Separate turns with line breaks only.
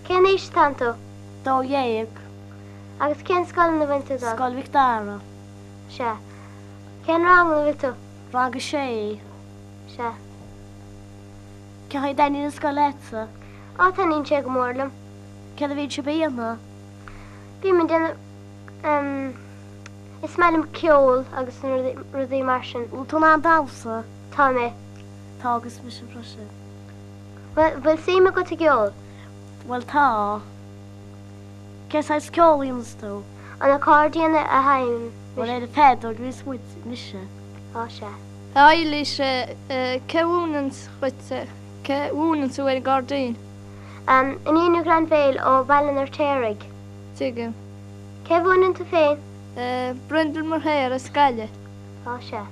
iex tanto?
Do jajek,
Għagħt kien skoll niventu da?
skol Viktara,
Xe. Kien rang niventu?
raga xej,
Xe.
kħaj dajni niskolezza,
Għata ninċeg morlum.
kħada viċi bijana,
Bi minn din... Um, Ismalim kjol għagħt rudi marxin.
u tuna dawsa,
Tommy.
tagus biex proxi.
Bil simi għut kjol.
Wel ta, kħesa skol jinstu,
An accordion a haim.
u lejda pedog nis mwit nisha.
O xe.
Eilish cewwnans chwyta. Cewwnans yw wedi gordyn.
Um, yn un yw gran feil o Balin o'r Terig.
Tigym.
Cefwn yn ty fein?
Bryndl mor her ysgalia.
O xe.